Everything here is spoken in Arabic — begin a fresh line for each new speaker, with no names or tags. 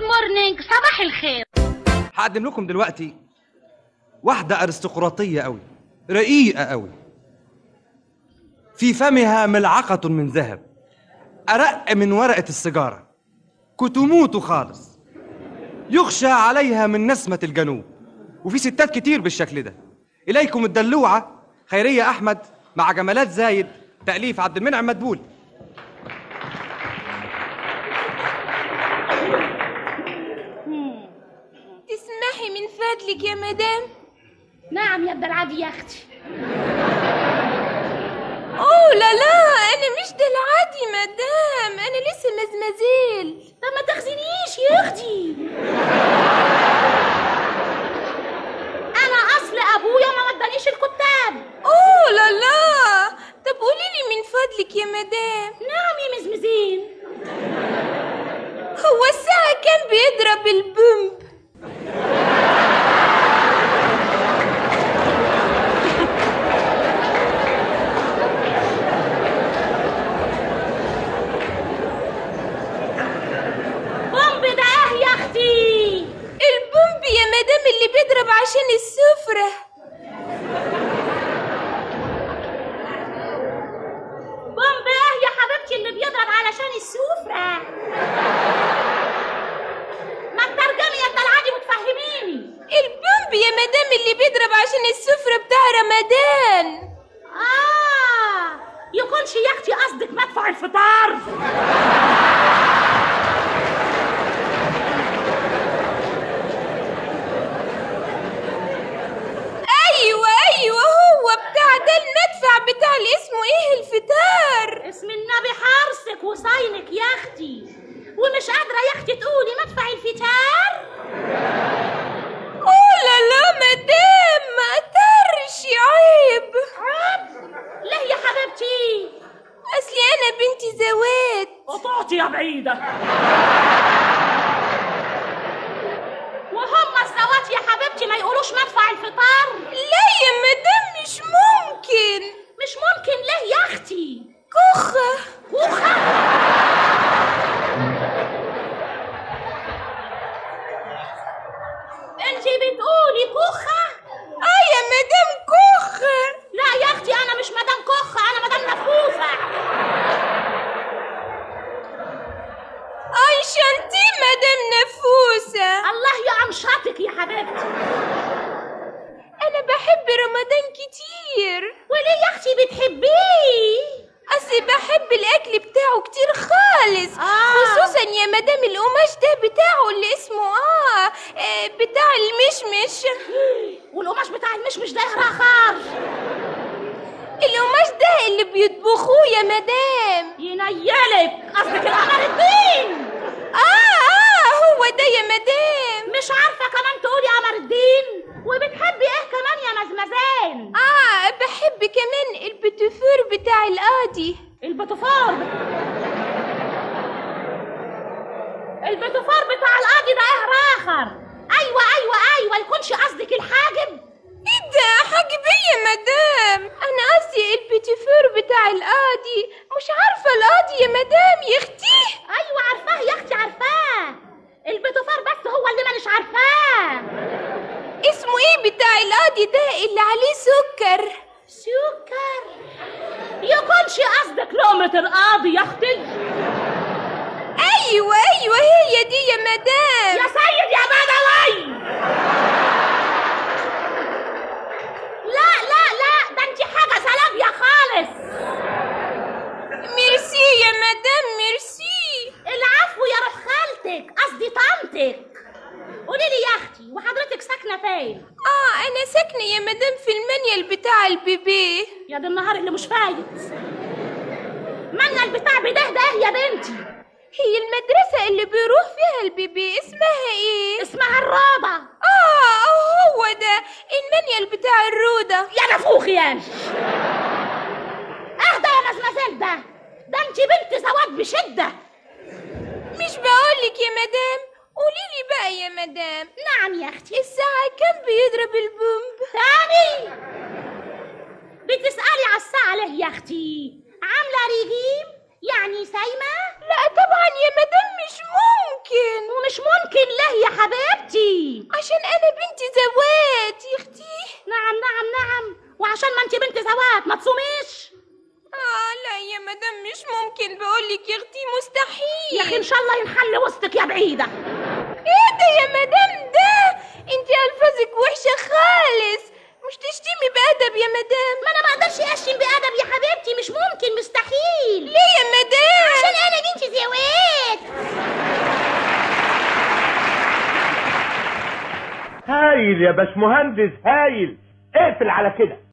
خليك صباح الخير
هقدم لكم دلوقتي واحدة أرستقراطية أوي رقيقة أوي في فمها ملعقة من ذهب أرق من ورقة السيجارة كتموت خالص يخشى عليها من نسمة الجنوب وفي ستات كتير بالشكل ده إليكم الدلوعة خيرية أحمد مع جمالات زايد تأليف عبد المنعم مدبول
تسمحي من فضلك يا مدام
نعم يا الدلعادي يا اختي
اوه لا لا انا مش دلعادي مدام انا لسه مزمزيل
طب ما تخزنيش يا اختي انا اصل ابويا ما ودانيش الكتاب
اوه لا لا طب قولي لي من فضلك يا مدام
نعم يا مزمزين
هو الساعة كام بيضرب البومب
بومب ده إيه يا اختي
البومب يا مدام اللي بيضرب عشان السفرة
بومب ايه يا حبيبتي اللي بيضرب علشان السفرة ما تترجمي يا الدلعادي وتفهميني
البومب يا مدام اللي بيضرب عشان السفرة بتاع رمضان
اه يكونش يا اختي قصدك مدفع الفطار
ايوه ايوه هو بتاع ده المدفع بتاع اللي اسمه ايه الفطار
اسم النبي حارسك وصاينك يا اختي ومش قادره يا اختي تقولي مدفع الفتار
اوه لا لا مدام ما قدرش عيب
ليه يا حبيبتي
اصلي انا بنتي زواد
قطعتي يا بعيده وهم الزوات يا حبيبتي ما يقولوش مدفع الفطار
لا يا مدام مش ممكن
مش ممكن ليه يا اختي
كخة
وخ- انتي بتقولي كوخه
اه يا مدام كخة
لا يا اختي انا مش مدام كخه انا مدام نفوفه
اي شانتي مدام نفوسة
الله يقمشطك يا حبيبتي
انا بحب رمضان كتير
وليه يا اختي بتحبيه
اصلي بحب الاكل بتاعه كتير خالص
آه.
خصوصا يا مدام القماش ده بتاعه اللي اسمه اه آه، بتاع المشمش
والقماش بتاع المشمش ده رخار
القماش ده اللي بيطبخوه يا مدام
ينيلك قصدك القمر الدين
اه اه هو ده يا مدام
مش عارفه كمان تقولي قمر الدين وبتحبي ايه كمان يا مزمزان
اه بحب كمان البتفور بتاع القاضي
البتفار البتفار بتاع القاضي ده ايه راخر ايوه ايوه ايوه يكونش قصدك الحاجب
ايه ده حاجبي يا مدام انا قصدي البتفور بتاع القاضي مش عارفه القاضي يا مدام يختيه
ايوه عارفاه يا اختي عارفاه البتفار بس هو اللي مانيش عارفاه
اسمه ايه بتاع القاضي ده اللي عليه سكر
سكر يكونش قصدك لقمة القاضي يا اختي
ايوه ايوه هي دي يا مدام
يا سيد يا بدوي لا لا لا ده انت حاجة سلابية خالص
ميرسي يا مدام ميرسي
العفو يا روح خالتك قصدي طنطك قولي لي يا اختي وحضرتك ساكنه فين
اه انا ساكنه يا مدام في المانيال بتاع البيبي
يا ده النهار اللي مش فايت مالنا البتاع بده ده يا بنتي
هي المدرسه اللي بيروح فيها البيبي اسمها ايه
اسمها الروضه
اه هو ده المانيال بتاع الروضه
يا نفوخ يا اهدى يا مزمزل ده ده انت بنت سواد بشده
مش بقولك يا مدام قوليلي بقى يا مدام
نعم يا اختي
الساعه كام بيضرب البومب
تاني بتسألي على الساعة ليه يا أختي؟ عاملة ريجيم؟ يعني سايمة؟
لا طبعا يا مدام مش ممكن
ومش ممكن له يا حبيبتي
عشان انا بنت زوات يا اختي
نعم نعم نعم وعشان ما انت بنت زوات ما تصوميش
اه لا يا مدام مش ممكن بقولك يا اختي مستحيل
يا اخي ان شاء الله ينحل وسطك يا بعيده
ايه ده يا مدام ده انت الفاظك وحشه خالص مش تشتمي بادب يا مدام
ما انا ما اقدرش اشتم بادب يا حبيبتي مش ممكن مستحيل
ليه يا مدام
عشان انا بنت زوات
هايل يا باشمهندس هايل اقفل على كده